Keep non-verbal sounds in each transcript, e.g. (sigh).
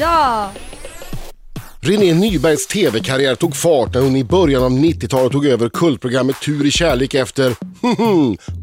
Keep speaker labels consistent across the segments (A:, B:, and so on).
A: Ja!
B: Renée Nybergs tv-karriär tog fart när hon i början av 90-talet tog över kultprogrammet Tur i kärlek efter (laughs)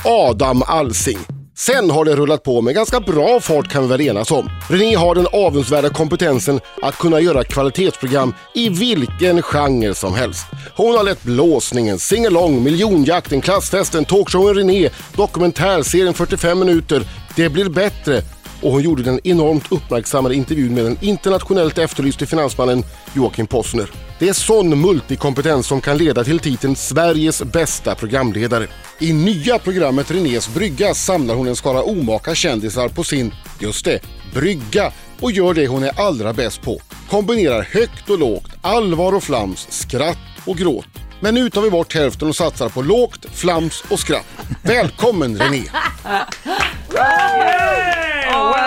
B: Adam Alsing. Sen har det rullat på med ganska bra fart kan vi väl enas om. Renée har den avundsvärda kompetensen att kunna göra kvalitetsprogram i vilken genre som helst. Hon har lett Blåsningen, Singalong, Miljonjakten, Klassfesten, Talkshowen Renée, dokumentärserien 45 minuter, Det blir bättre och hon gjorde den enormt uppmärksammade intervjun med den internationellt efterlyste finansmannen Joakim Possner. Det är sån multikompetens som kan leda till titeln Sveriges bästa programledare. I nya programmet Renés brygga samlar hon en skara omaka kändisar på sin, just det, brygga och gör det hon är allra bäst på. Kombinerar högt och lågt, allvar och flams, skratt och gråt. Men nu tar vi bort hälften och satsar på lågt, flams och skratt. Välkommen René!
A: tack,
C: welcome!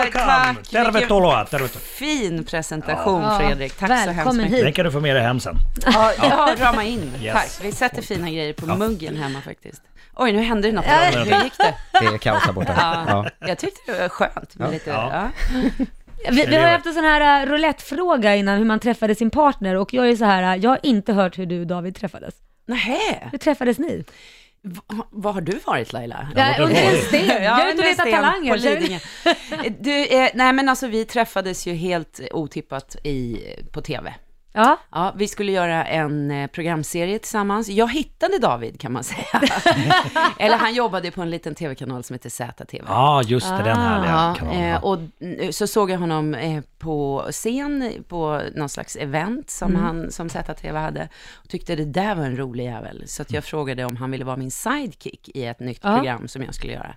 A: vilken-
C: Tervetuloa, tervetuloa.
D: Fin presentation
A: Ja.
D: Fredrik. Tack så hemskt
A: Välkommen
D: mycket.
A: hit.
C: Den kan du få med dig hem sen.
D: Ja, ja, rama in.
C: Yes.
D: Tack. Vi sätter fina grejer på muggen hemma faktiskt. Oj, nu hände det något. Hur gick det?
E: Det är kaos här borta. Ja.
D: Ja. Jag tyckte det var skönt med lite... Ja.
C: Ja.
A: Vi, vi har ju
C: Elever.
A: haft en sån här uh, roulettefråga innan hur man träffade sin partner och jag är ju så här, äh, jag har inte hört hur du och David träffades.
D: Nähä.
A: Hur träffades ni?
D: Va- Vad har du varit Laila?
A: Ja,
C: vad
A: under
C: bra.
A: en sten. Jag är ute och
D: under
A: letar
D: sten På
A: talanger.
D: Lidingö. Du, eh, nej men alltså vi träffades ju helt otippat i, på TV.
A: Ja,
D: Ja, vi skulle göra en eh, programserie tillsammans. Jag hittade David kan man säga. (laughs) Eller han jobbade på en liten tv-kanal som heter ZTV.
C: Ja, just det, den härliga kanalen.
D: eh, och eh, så såg jag honom eh, på scen på någon slags event som,
A: Mm.
D: han, som ZTV hade. Och tyckte det där var en rolig jävel. Så
C: Mm.
D: att jag frågade om han ville vara min sidekick i ett nytt
A: Ja.
D: program som jag skulle göra.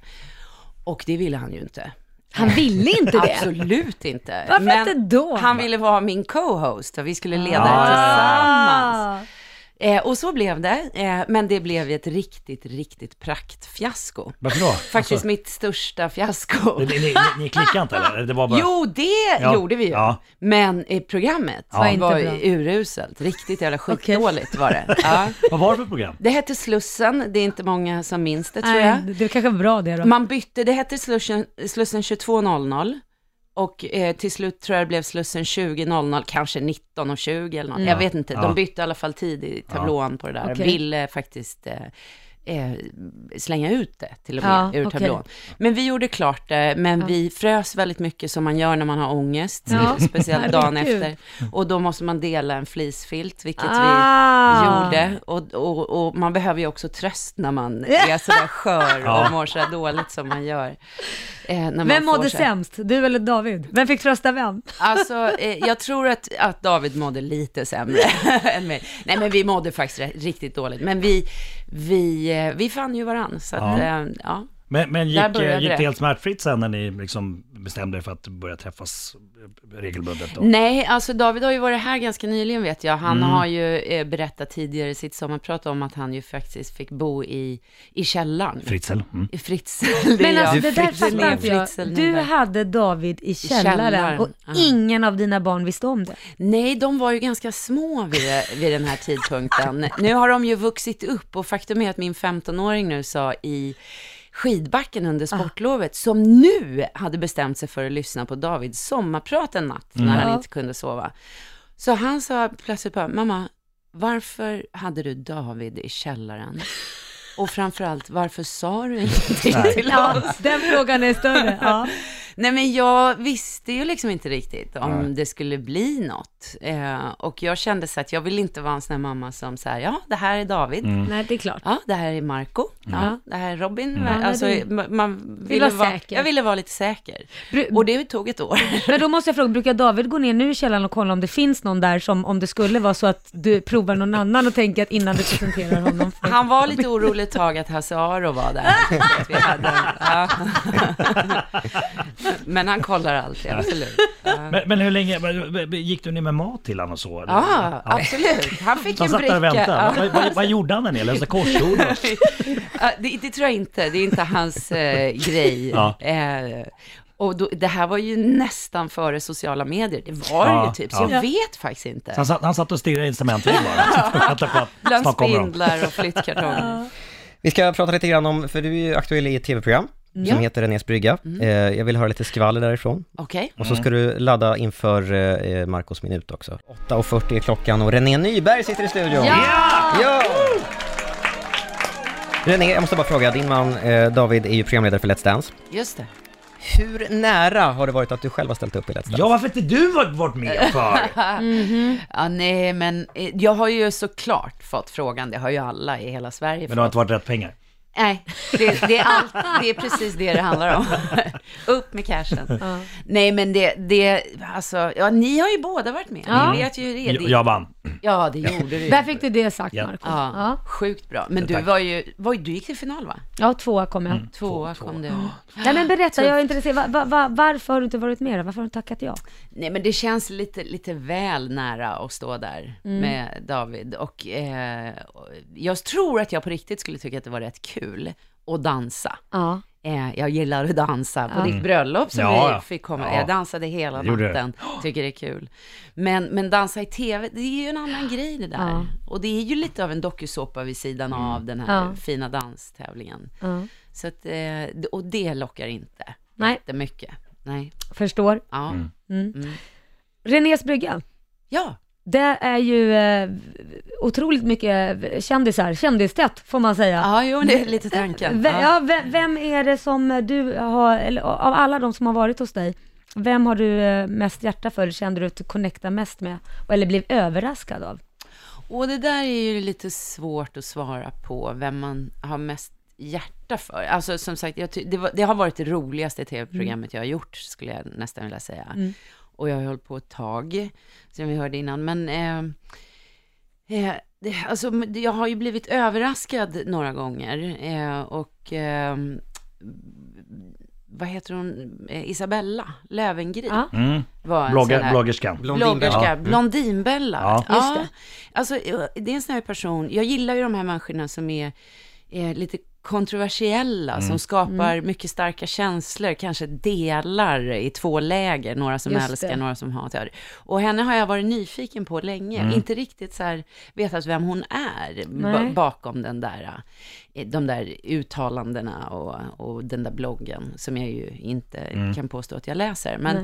D: Och det ville han ju inte.
A: han ville inte det.
D: Absolut inte.
A: Varför inte då?
D: Han ville vara min co-host och vi skulle leda
C: Ah.
D: det tillsammans.
A: Ah.
D: Eh, och så blev det, eh, men det blev ju ett riktigt, riktigt praktfiasko.
C: Varför då? Alltså,
D: Faktiskt mitt största fiasko.
C: Ni, ni, ni, ni klickade inte eller? Det var bara...
D: Jo, det
C: Ja,
D: gjorde vi ju.
C: ja.
D: Men eh, programmet
A: Var inte
D: var
A: bra.
D: uruselt. Riktigt jävla skitdåligt var
A: (laughs)
D: det. Ja.
C: Vad var det för program?
D: Det hette Slussen, det är inte många som minns det tror jag.
A: Nej, det- det kanske var bra det då.
D: Man bytte, det hette Slussen, Slussen 22.00 och eh, till slut tror jag det blev Slussen 20.00, kanske 19.20 eller något.
A: Mm.
D: Jag vet inte,
C: Ja.
D: de bytte i alla fall tid i tablån på det där.
A: Okej.
D: Ville faktiskt eh, eh, slänga ut det till och med
A: Ja,
D: ur
A: okej.
D: tablån. Men vi gjorde klart det, men vi frös väldigt mycket som man gör när man har ångest,
A: (laughs) Ja.
D: speciellt dagen
A: Herregud.
D: efter. Och då måste man dela en flisfilt, vilket vi
A: Ah.
D: gjorde. Och, och, och man behöver ju också tröst när man är sådär skör
C: (laughs)
D: och
C: Ja.
D: mår så dåligt som man gör. Eh, när man
A: Vem
D: får
A: mådde
D: så-
A: sämst? Du eller David? Vem fick trösta vem?
D: Alltså, eh, jag tror att, att David mådde lite sämre (laughs) än mig. Nej, men vi mådde faktiskt ri- riktigt dåligt. Men vi, vi, eh, vi fann ju varann, så att,
C: Ja.
D: eh, ja.
C: Men, men
D: Där
C: gick,
D: började
C: eh, gick
D: det.
C: det helt smärtfritt sen när ni liksom bestämde er för att börja träffas eh, regelbundet? Då?
D: Nej, alltså David har ju varit här ganska nyligen vet jag.
C: Mm.
D: Han har ju eh, berättat tidigare i sitt sommarprat om att han ju faktiskt fick bo i, i källaren.
C: Fritzel? Mm.
D: I Fritzl. det är
A: Men alltså
D: jag.
A: det där
D: Fritzl
A: fattar
D: är
A: inte jag.
D: Fritzl
A: Du
D: Nyberg.
A: hade David i källaren,
D: källaren,
A: och
D: ja.
A: ingen av dina barn visste om det.
D: Nej, de var ju ganska små vid, vid den här tidpunkten. Nu har de ju vuxit upp och faktum är att min 15-åring nu sa i skidbacken under sportlovet, som nu hade bestämt sig för att lyssna på Davids sommarprat en natt när
A: Ja.
D: han inte kunde sova. Så han sa plötsligt bara, mamma, varför hade du David i källaren? Och framförallt, varför sa du ingenting till
A: Ja,
D: oss?
A: den frågan är större. Ja.
D: Nej men jag visste ju liksom inte riktigt om det skulle bli något. Eh, och jag kände så att jag vill inte vara en sån här mamma som säger, ja det här är David,
C: Mm.
A: Nej, det är klart.
D: ja det här är Marco, ja det här är Robin.
C: Mm.
A: men
D: Alltså,
A: det-
D: ma- man ville
A: vara
D: vara,
A: säker.
D: jag ville vara lite säker.
A: Bru-
D: Och det tog ett år. (laughs)
A: Men då måste jag fråga, brukar David gå ner nu i källaren och kolla om det finns någon där som, om det skulle vara så att du provar någon annan och tänker att innan du presenterar honom för...
D: Han var lite orolig ett tag att Hasse Aro
A: (laughs)
D: var där. Att vi hade, ja. (laughs) Men han kollar alltid, absolut. Ja, Ah,
C: Men, men hur länge, men, gick du ner med mat till honom och så? eller?
D: ja absolut. Han fick
C: Han
D: en
C: satt
D: bricka.
C: där och väntade.
D: Ja.
C: Vad, vad, vad gjorde han där nere? Läste korsord? och-
D: (laughs) Ja, det, det tror jag inte. Det är inte hans eh, grej.
C: Ja.
D: Eh, och då, det här var ju nästan före sociala medier. Det var
C: Ja,
D: ju typ, så
C: ja.
D: jag vet faktiskt inte.
C: Så han, satt, han satt och stirrade i instrumentet
D: (laughs)
C: bara. Väntade på att
D: Bland
C: snart kommer de.
D: spindlar och flyttkartonger.
E: Vi ska prata lite grann om, för du är ju aktuell i ett tv-program
D: Ja.
E: som heter Renés brygga. Eh, jag vill höra lite skvaller därifrån.
D: Okej.
E: Och så ska du ladda inför eh, Marcos minut också. 8.40 är klockan och René Nyberg sitter i studion.
C: Ja!
E: Ja! René, jag måste bara fråga, din man eh, David är ju programledare för Let's Dance.
D: Just det.
E: Hur nära har det varit att du själv har ställt upp i Let's Dance?
C: Ja, varför inte du har varit
D: (laughs)
C: med för?
D: Ja, nej, men eh, jag har ju såklart fått frågan, det har ju alla i hela Sverige
C: Men det har
D: fått.
C: inte varit rätt pengar.
D: Nej, det, det, är allt, det är precis det det handlar om. (laughs) Upp med cashen. Nej, men det, det, alltså, ja, ni har ju båda varit med. Ni vet ju hur det är.
C: Jag,
D: Det-
C: jag vann.
D: Ja, det gjorde du ju.
A: Där fick du det sagt
C: Ja.
A: Marco.
D: Ja,
A: Ja.
D: sjukt bra. Men du
C: tack.
D: var ju, var, du gick till final va?
A: ja, tvåa kom
D: Mm.
A: jag.
D: Tvåa kom du.
A: Nej men berätta, jag är intresserad. Va, va, va, varför har du inte varit med då? Varför har du tackat ja?
D: Nej, men det känns lite, lite väl nära att stå där
A: Mm.
D: med David. Och eh, jag tror att jag på riktigt skulle tycka att det var rätt kul att dansa.
A: Ja.
D: Eh, jag gillar att dansa. På ditt bröllop som
C: Mm. Ja,
D: vi
C: ja.
D: fick komma.
C: Ja.
D: Jag dansade hela
C: Jag gjorde det.
D: natten. Tycker det är kul. Men, men dansa i tv, det är ju en annan grej det där.
A: Ja.
D: Och det är ju lite av en dokusåpa vid sidan
C: Mm.
D: av den här
A: Ja.
D: fina danstävlingen.
A: ja.
D: Så att, eh, och det lockar inte
A: Nej.
D: jättemycket. Nej.
A: Förstår.
D: Ja.
A: Renés brygga.
D: ja.
A: Det är ju eh, otroligt mycket kändisar, kändistätt får man säga.
D: Ja, jo, det är lite tanken.
A: Ve- ja, ve- vem är det som du har, eller av alla de som har varit hos dig, vem har du eh, mest hjärta för, kände du att du connectar mest med? Eller blev överraskad av?
D: Och det där är ju lite svårt att svara på, vem man har mest hjärta för. Alltså som sagt, jag ty- det, var, det har varit det roligaste tv-programmet jag har gjort, skulle jag nästan vilja säga. Och jag har hållit på ett tag, som vi hörde innan. Men eh, eh, det, alltså, m- det- jag har ju blivit överraskad några gånger. Eh, och eh, vad heter hon, Eh, Isabella Löwengrip
A: Ja.
C: Mm.
D: var en sån
C: Blogger,
D: här-
C: bloggerskan.
D: Bloggerska,
C: Ja.
D: Blondinbella.
C: Ja.
A: Just det.
D: Alltså, eh, det är en sån här person, jag gillar ju de här människorna som är, är lite kontroversiella,
C: Mm.
D: som skapar
A: Mm.
D: mycket starka känslor, kanske delar i två läger, några som
A: Just
D: älskar,
A: det.
D: några som hatar. Och henne har jag varit nyfiken på länge,
C: Mm.
D: inte riktigt så här vetat vem hon är
A: Nej.
D: ba- bakom den där, eh, de där uttalandena och, och den där bloggen, som jag ju inte
C: Mm.
D: kan påstå att jag läser. Men,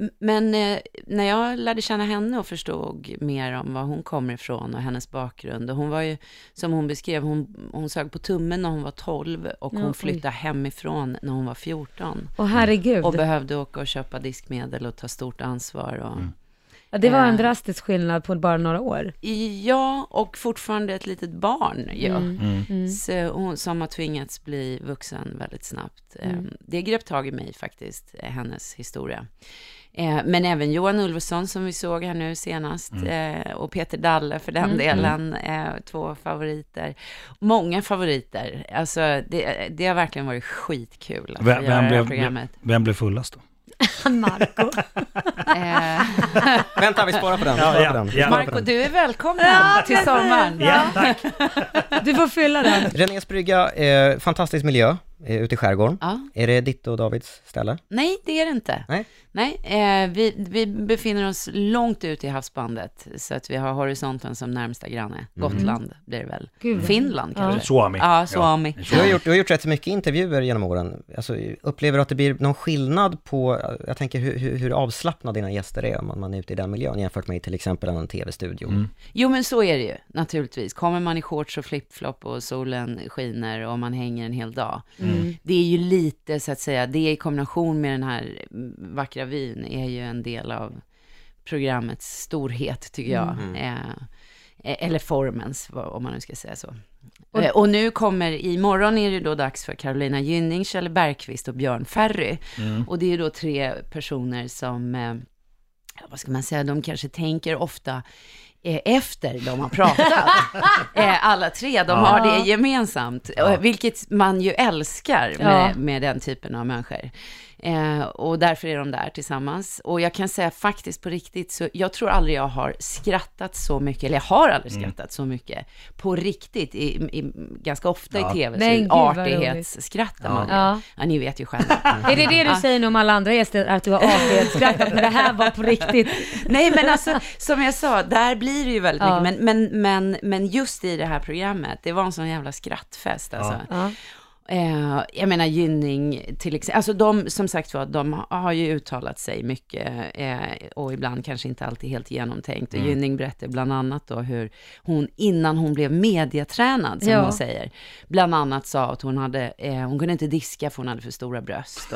D: M- Men eh, när jag lärde känna henne och förstod mer om var hon kommer ifrån och hennes bakgrund. Och hon var ju, som hon beskrev, hon, hon sög på tummen när hon var 12 och
A: Ja, oj.
D: hon flyttade hemifrån när hon var 14.
A: Åh herregud.
D: Och behövde åka och köpa diskmedel och ta stort ansvar. Och,
A: ja, det var en drastisk skillnad på bara några år.
D: Ja, och fortfarande ett litet barn ju. Så hon, som har tvingats bli vuxen väldigt snabbt. Eh, Det grep tag i mig faktiskt, eh, hennes historia. Eh, Men även Johan Ulveson som vi såg här nu senast eh, och Peter Dalle för den delen, eh, två favoriter. Många favoriter, alltså det, det har verkligen varit skitkul att få
C: Vem,
D: göra det
C: vem,
D: här
C: blev,
D: programmet.
C: (laughs) vem blev fullast
A: (laughs)
C: då?
A: Marco.
D: Eh,
E: Vänta, vi sparar på den. Vi sparar
C: ja,
E: på den. Vi
C: ja.
E: sparar på
D: Marco,
E: den.
D: du är välkommen till sommaren.
C: Ja, tack.
A: Du får fylla den.
E: Renés brygga, eh, fantastisk miljö eh, ute i skärgården.
D: Ja.
E: Är det ditt och Davids ställe?
D: Nej, det är det inte.
E: Nej.
D: Nej, eh, vi, vi befinner oss långt ut i havsbandet, så att vi har horisonten som närmsta granne. Gotland blir det väl. Finland kanske.
C: Suomi.
D: Ja, Suomi.
E: Du har, gjort, du har gjort rätt så mycket intervjuer genom åren. Alltså, upplever du att det blir någon skillnad på, jag tänker hur, hur, hur avslappnade dina gäster är om man- man är ute i den miljön jämfört med till exempel en tv-studio?
C: Mm.
D: Jo, men så är det ju naturligtvis. Kommer man i shorts och flipflop och solen skiner och man hänger en hel dag. Det är ju lite, så att säga, det i kombination med den här mm, vackra vyn är ju en del av programmets storhet, tycker jag. Eh, eh, eller formens, vad- om man nu ska säga så. Och, och nu kommer, imorgon är det då dags för Carolina Gynning, Kjell Bergqvist och Björn Ferry. Och det är ju då tre personer som eh, ja, vad ska man säga, de kanske tänker ofta eh, efter de
A: (laughs)
D: har pratat. eh, alla tre, de har det gemensamt, eh, vilket man ju älskar med,
A: Ja.
D: med den typen av människor. Eh, och därför är de där tillsammans. Och jag kan säga faktiskt på riktigt, så jag tror aldrig jag har skrattat så mycket, eller jag har aldrig skrattat så mycket, på riktigt, i, i, ganska ofta i tv,
A: Men gud,
D: så
A: vad roligt.
D: artighetsskrattar man ju.
A: Ja.
D: ja, ni vet ju själva.
A: (laughs) Är det det du säger nu om alla andra gäster, att du har (laughs) artighetsskrattat, men det här var på riktigt?
D: Nej, men alltså, som jag sa, där blir det ju väldigt mycket. Men, men, men, men just i det här programmet, det var en sån jävla skrattfest alltså.
A: Ja.
D: Eh, jag menar Gynning till exempel, alltså de som sagt var, de har ju uttalat sig mycket eh, och ibland kanske inte alltid helt genomtänkt. Och Gynning berättade bland annat då hur hon, innan hon blev mediatränad, som
A: Ja.
D: hon säger, bland annat sa att hon hade, eh, hon kunde inte diska för hon hade för stora bröst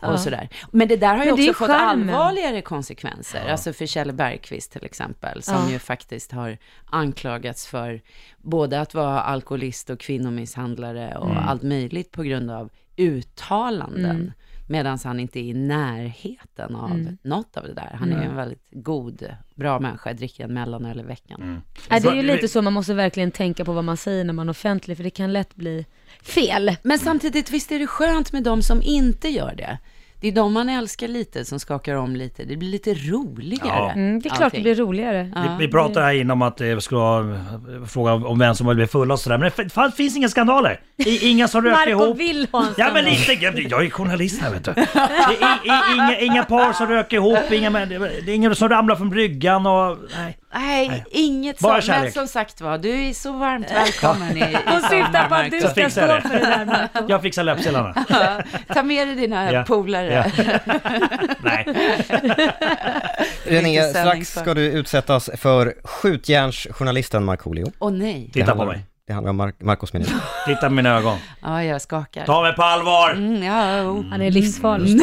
D: och, och sådär. Men det där har ju
A: Men det är
D: också
A: ju
D: fått
A: charmen.
D: allvarligare konsekvenser, alltså för Kjell Bergqvist till exempel, som
A: Ja.
D: ju faktiskt har anklagats för både att vara alkoholist och kvinnomisshandlare och allt möjligt på grund av uttalanden.
A: Mm.
D: Medan han inte är i närheten av något av det där. Han är ju en väldigt god, bra människa, dricker en mellanöl i veckan.
A: Nej, det är ju lite så, man måste verkligen tänka på vad man säger när man är offentlig, för det kan lätt bli fel.
D: Men samtidigt, visst är det skönt med de som inte gör det? Det är de man älskar lite, som skakar om lite. Det blir lite roligare.
C: Ja.
A: Mm, det är klart
D: allting.
A: det blir roligare.
C: Vi, vi pratade här innan om att det skulle vara eh, fråga om vem som blev fulla och sådär. Men det f- fan, finns inga skandaler. I, inga som röker
A: Marco
C: ihop.
A: vill ha en
C: Ja men
A: skandal.
C: lite, jag, jag är journalist här vet du. Det är, i, i, inga, inga par som röker ihop, inga, män- det är ingen som ramlar från bryggan och... Nej.
D: Nej, inget
C: Bara
D: sånt. Men
C: kärlek.
D: som sagt var, du är så varmt välkommen i, i
A: Hon syftar på att
D: Marco.
A: du
C: Jag
A: ska
C: fixar
A: stå
C: det.
A: för det där Marco.
C: Jag fixar löpsedlarna.
D: Ja, Ta med dig dina
C: Ja,
D: polare.
C: ja. Nej.
E: René,
D: Riktig
E: strax
D: sändningsform.
E: ska du utsättas för skjutjärnsjournalisten Markoolio.
D: Åh nej.
E: Det
C: Titta på
E: handlar-
C: mig.
E: Det handlar om Mar- Marcos minut.
C: Titta på mina ögon.
D: Ja, jag skakar.
C: Ta mig på allvar!
D: Mm, ja, oh.
A: Han är livsfarlig.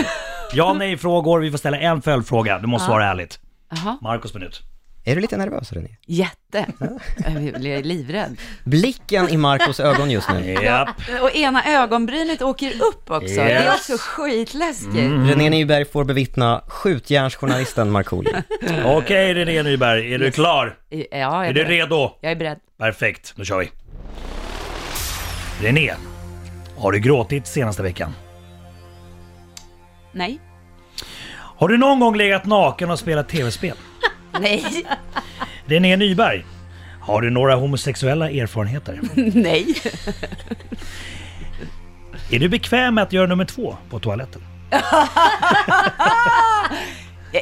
C: Ja nej-frågor. Vi får ställa en följdfråga. Du måste svara ärligt.
D: Jaha.
C: Marcos minut.
E: Är du lite nervös René?
D: Jätte. Jag blir livrädd.
E: Blicken i Marcos ögon just nu.
C: Japp.
D: Och ena ögonbrynet åker upp också. Det är
C: Yes. Mm.
D: också skitläskigt.
E: René Nyberg får bevittna skjutjärnsjournalisten Markoolio.
C: Okej René Nyberg, är du klar?
D: Ja, jag är,
C: Är du
D: beredd.
C: redo?
D: Jag är beredd.
C: Perfekt, då kör vi. René, har du gråtit senaste veckan?
D: Nej.
C: Har du någon gång legat naken och spelat tv-spel?
D: Nej. (laughs)
C: René Nyberg, har du några homosexuella (laughs) erfarenheter?
D: Nej.
C: Är du bekväm med att göra nummer två på toaletten?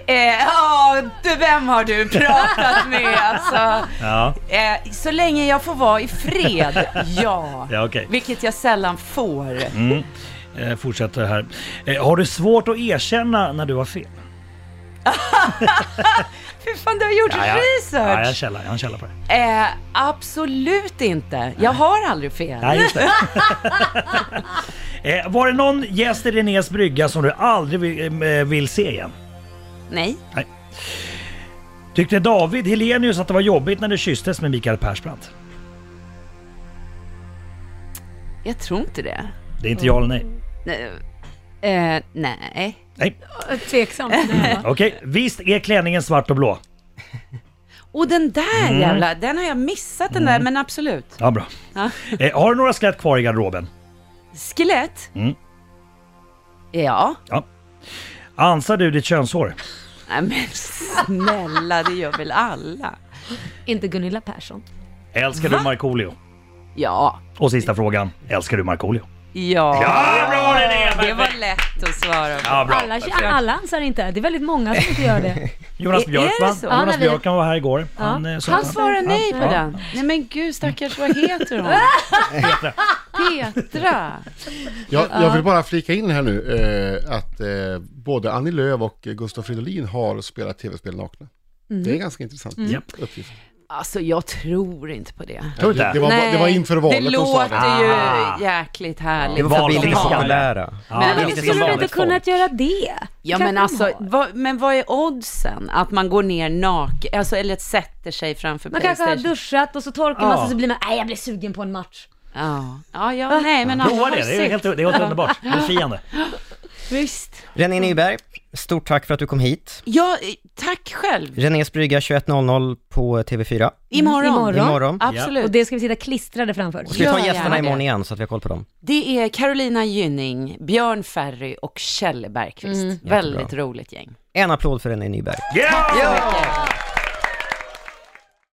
D: Eh, ja, du, vem har du pratat med alltså?
C: Ja,
D: Eh, så länge jag får vara
C: (laughs)
D: i fred, ja.
C: ja okej.
D: Vilket jag sällan får.
C: Eh, fortsätter här. Eh, har du svårt att erkänna när du har fel?
D: Hur fan, du har gjort
C: Ja, jag har en
D: research!
C: källa, jag har en källa på det.
D: Eh, absolut inte. Jag har aldrig fel.
C: Nej, just det. eh, var det någon gäst i Renés brygga som du aldrig vill, eh, vill se igen?
D: Nej.
C: Tyckte David Helenius att det var jobbigt när du kysstes med Mikael Persbrandt?
D: jag tror inte det.
C: Det är inte jag eller nej.
D: Nej. Eh, nej.
C: Nej,
A: Eh, Tveksamt.
C: (laughs)
A: nej, va?
C: okej. Visst är klänningen svart och blå?
D: Och den där
C: Mm.
D: jävla, den har jag missat den där, men absolut.
C: Ja, bra.
D: Ja.
C: Eh, har du några skelett kvar i garderoben?
D: Skelett?
C: Mm.
D: Ja.
C: Ansar du ditt könshår?
D: Nej men snälla, det gör väl alla?
A: Inte Gunilla Persson.
C: Älskar du Markoolio?
D: Ja.
C: Och sista frågan, älskar du Markoolio?
D: Ja.
C: Ja, bra René!
D: Det var lätt att svara på.
C: Ja, bra.
A: Alla, alla ansar inte. Det är väldigt många som inte
C: (laughs)
A: gör det.
C: Jonas
D: Är- är
C: Björkman,
D: det så?
A: Ja, när
C: Jonas
A: vi-
C: Björkman var här igår. Han, eh, sa
D: Han
C: att-
D: svarar nej på
C: Ja.
D: den. Nej men gud stackars, vad heter
A: (laughs)
D: hon? Petra.
F: Jag, jag vill bara flika in här nu eh, att eh, både Annie Lööf och eh, Gustav Fridolin har spelat tv-spel nakna.
D: Mm.
F: Det är en ganska intressant
C: Japp.
F: uppgift.
D: Alltså jag tror inte på det.
C: Tror du
F: det,
C: inte?
F: det, var,
D: Nej,
F: det var inför valet
D: Det
F: de sa det.
D: låter ju
C: Ah.
D: jäkligt
E: Det
D: härligt.
E: var för att vi inte är
C: Valfiskan.
E: populära.
C: Ja,
D: Men
C: det är
A: Varför
C: lite
A: skulle
C: som
A: de inte
C: vanligt folk.
A: kunnat göra det?
D: Ja
A: Kanske
D: men
A: de
D: alltså,
A: har.
D: vad, men vad är oddsen? Att man går ner naken, alltså eller sätter sig framför
A: Man kanske
D: Playstation?
A: har duschat och så torkar man
C: Ja.
A: sig och så blir man, nej jag blir sugen på en match.
D: Ja, ja,
A: Ah.
D: ja nej men alltså, alla
C: Prova
D: har
C: det, det är
D: sex.
C: helt, det är helt underbart. Befriande.
D: Visst.
E: René Nyberg, stort tack för att du kom hit.
D: Ja, eh, tack själv.
E: Renés brygga 21.00 på TV4.
D: Imorgon.
A: Imorgon.
E: Imorgon.
D: Absolut.
A: Och det ska vi sitta klistrade framför.
E: Och ska vi ta
D: Gör
E: gästerna
D: gärna
E: imorgon
D: det.
E: igen så att vi har koll på dem.
D: Det är Carolina Gynning, Björn Ferry
A: Mm.
D: och Kjell Bergqvist. Väldigt roligt gäng.
E: En applåd för René Nyberg.
C: Yeah!
D: Tack så mycket.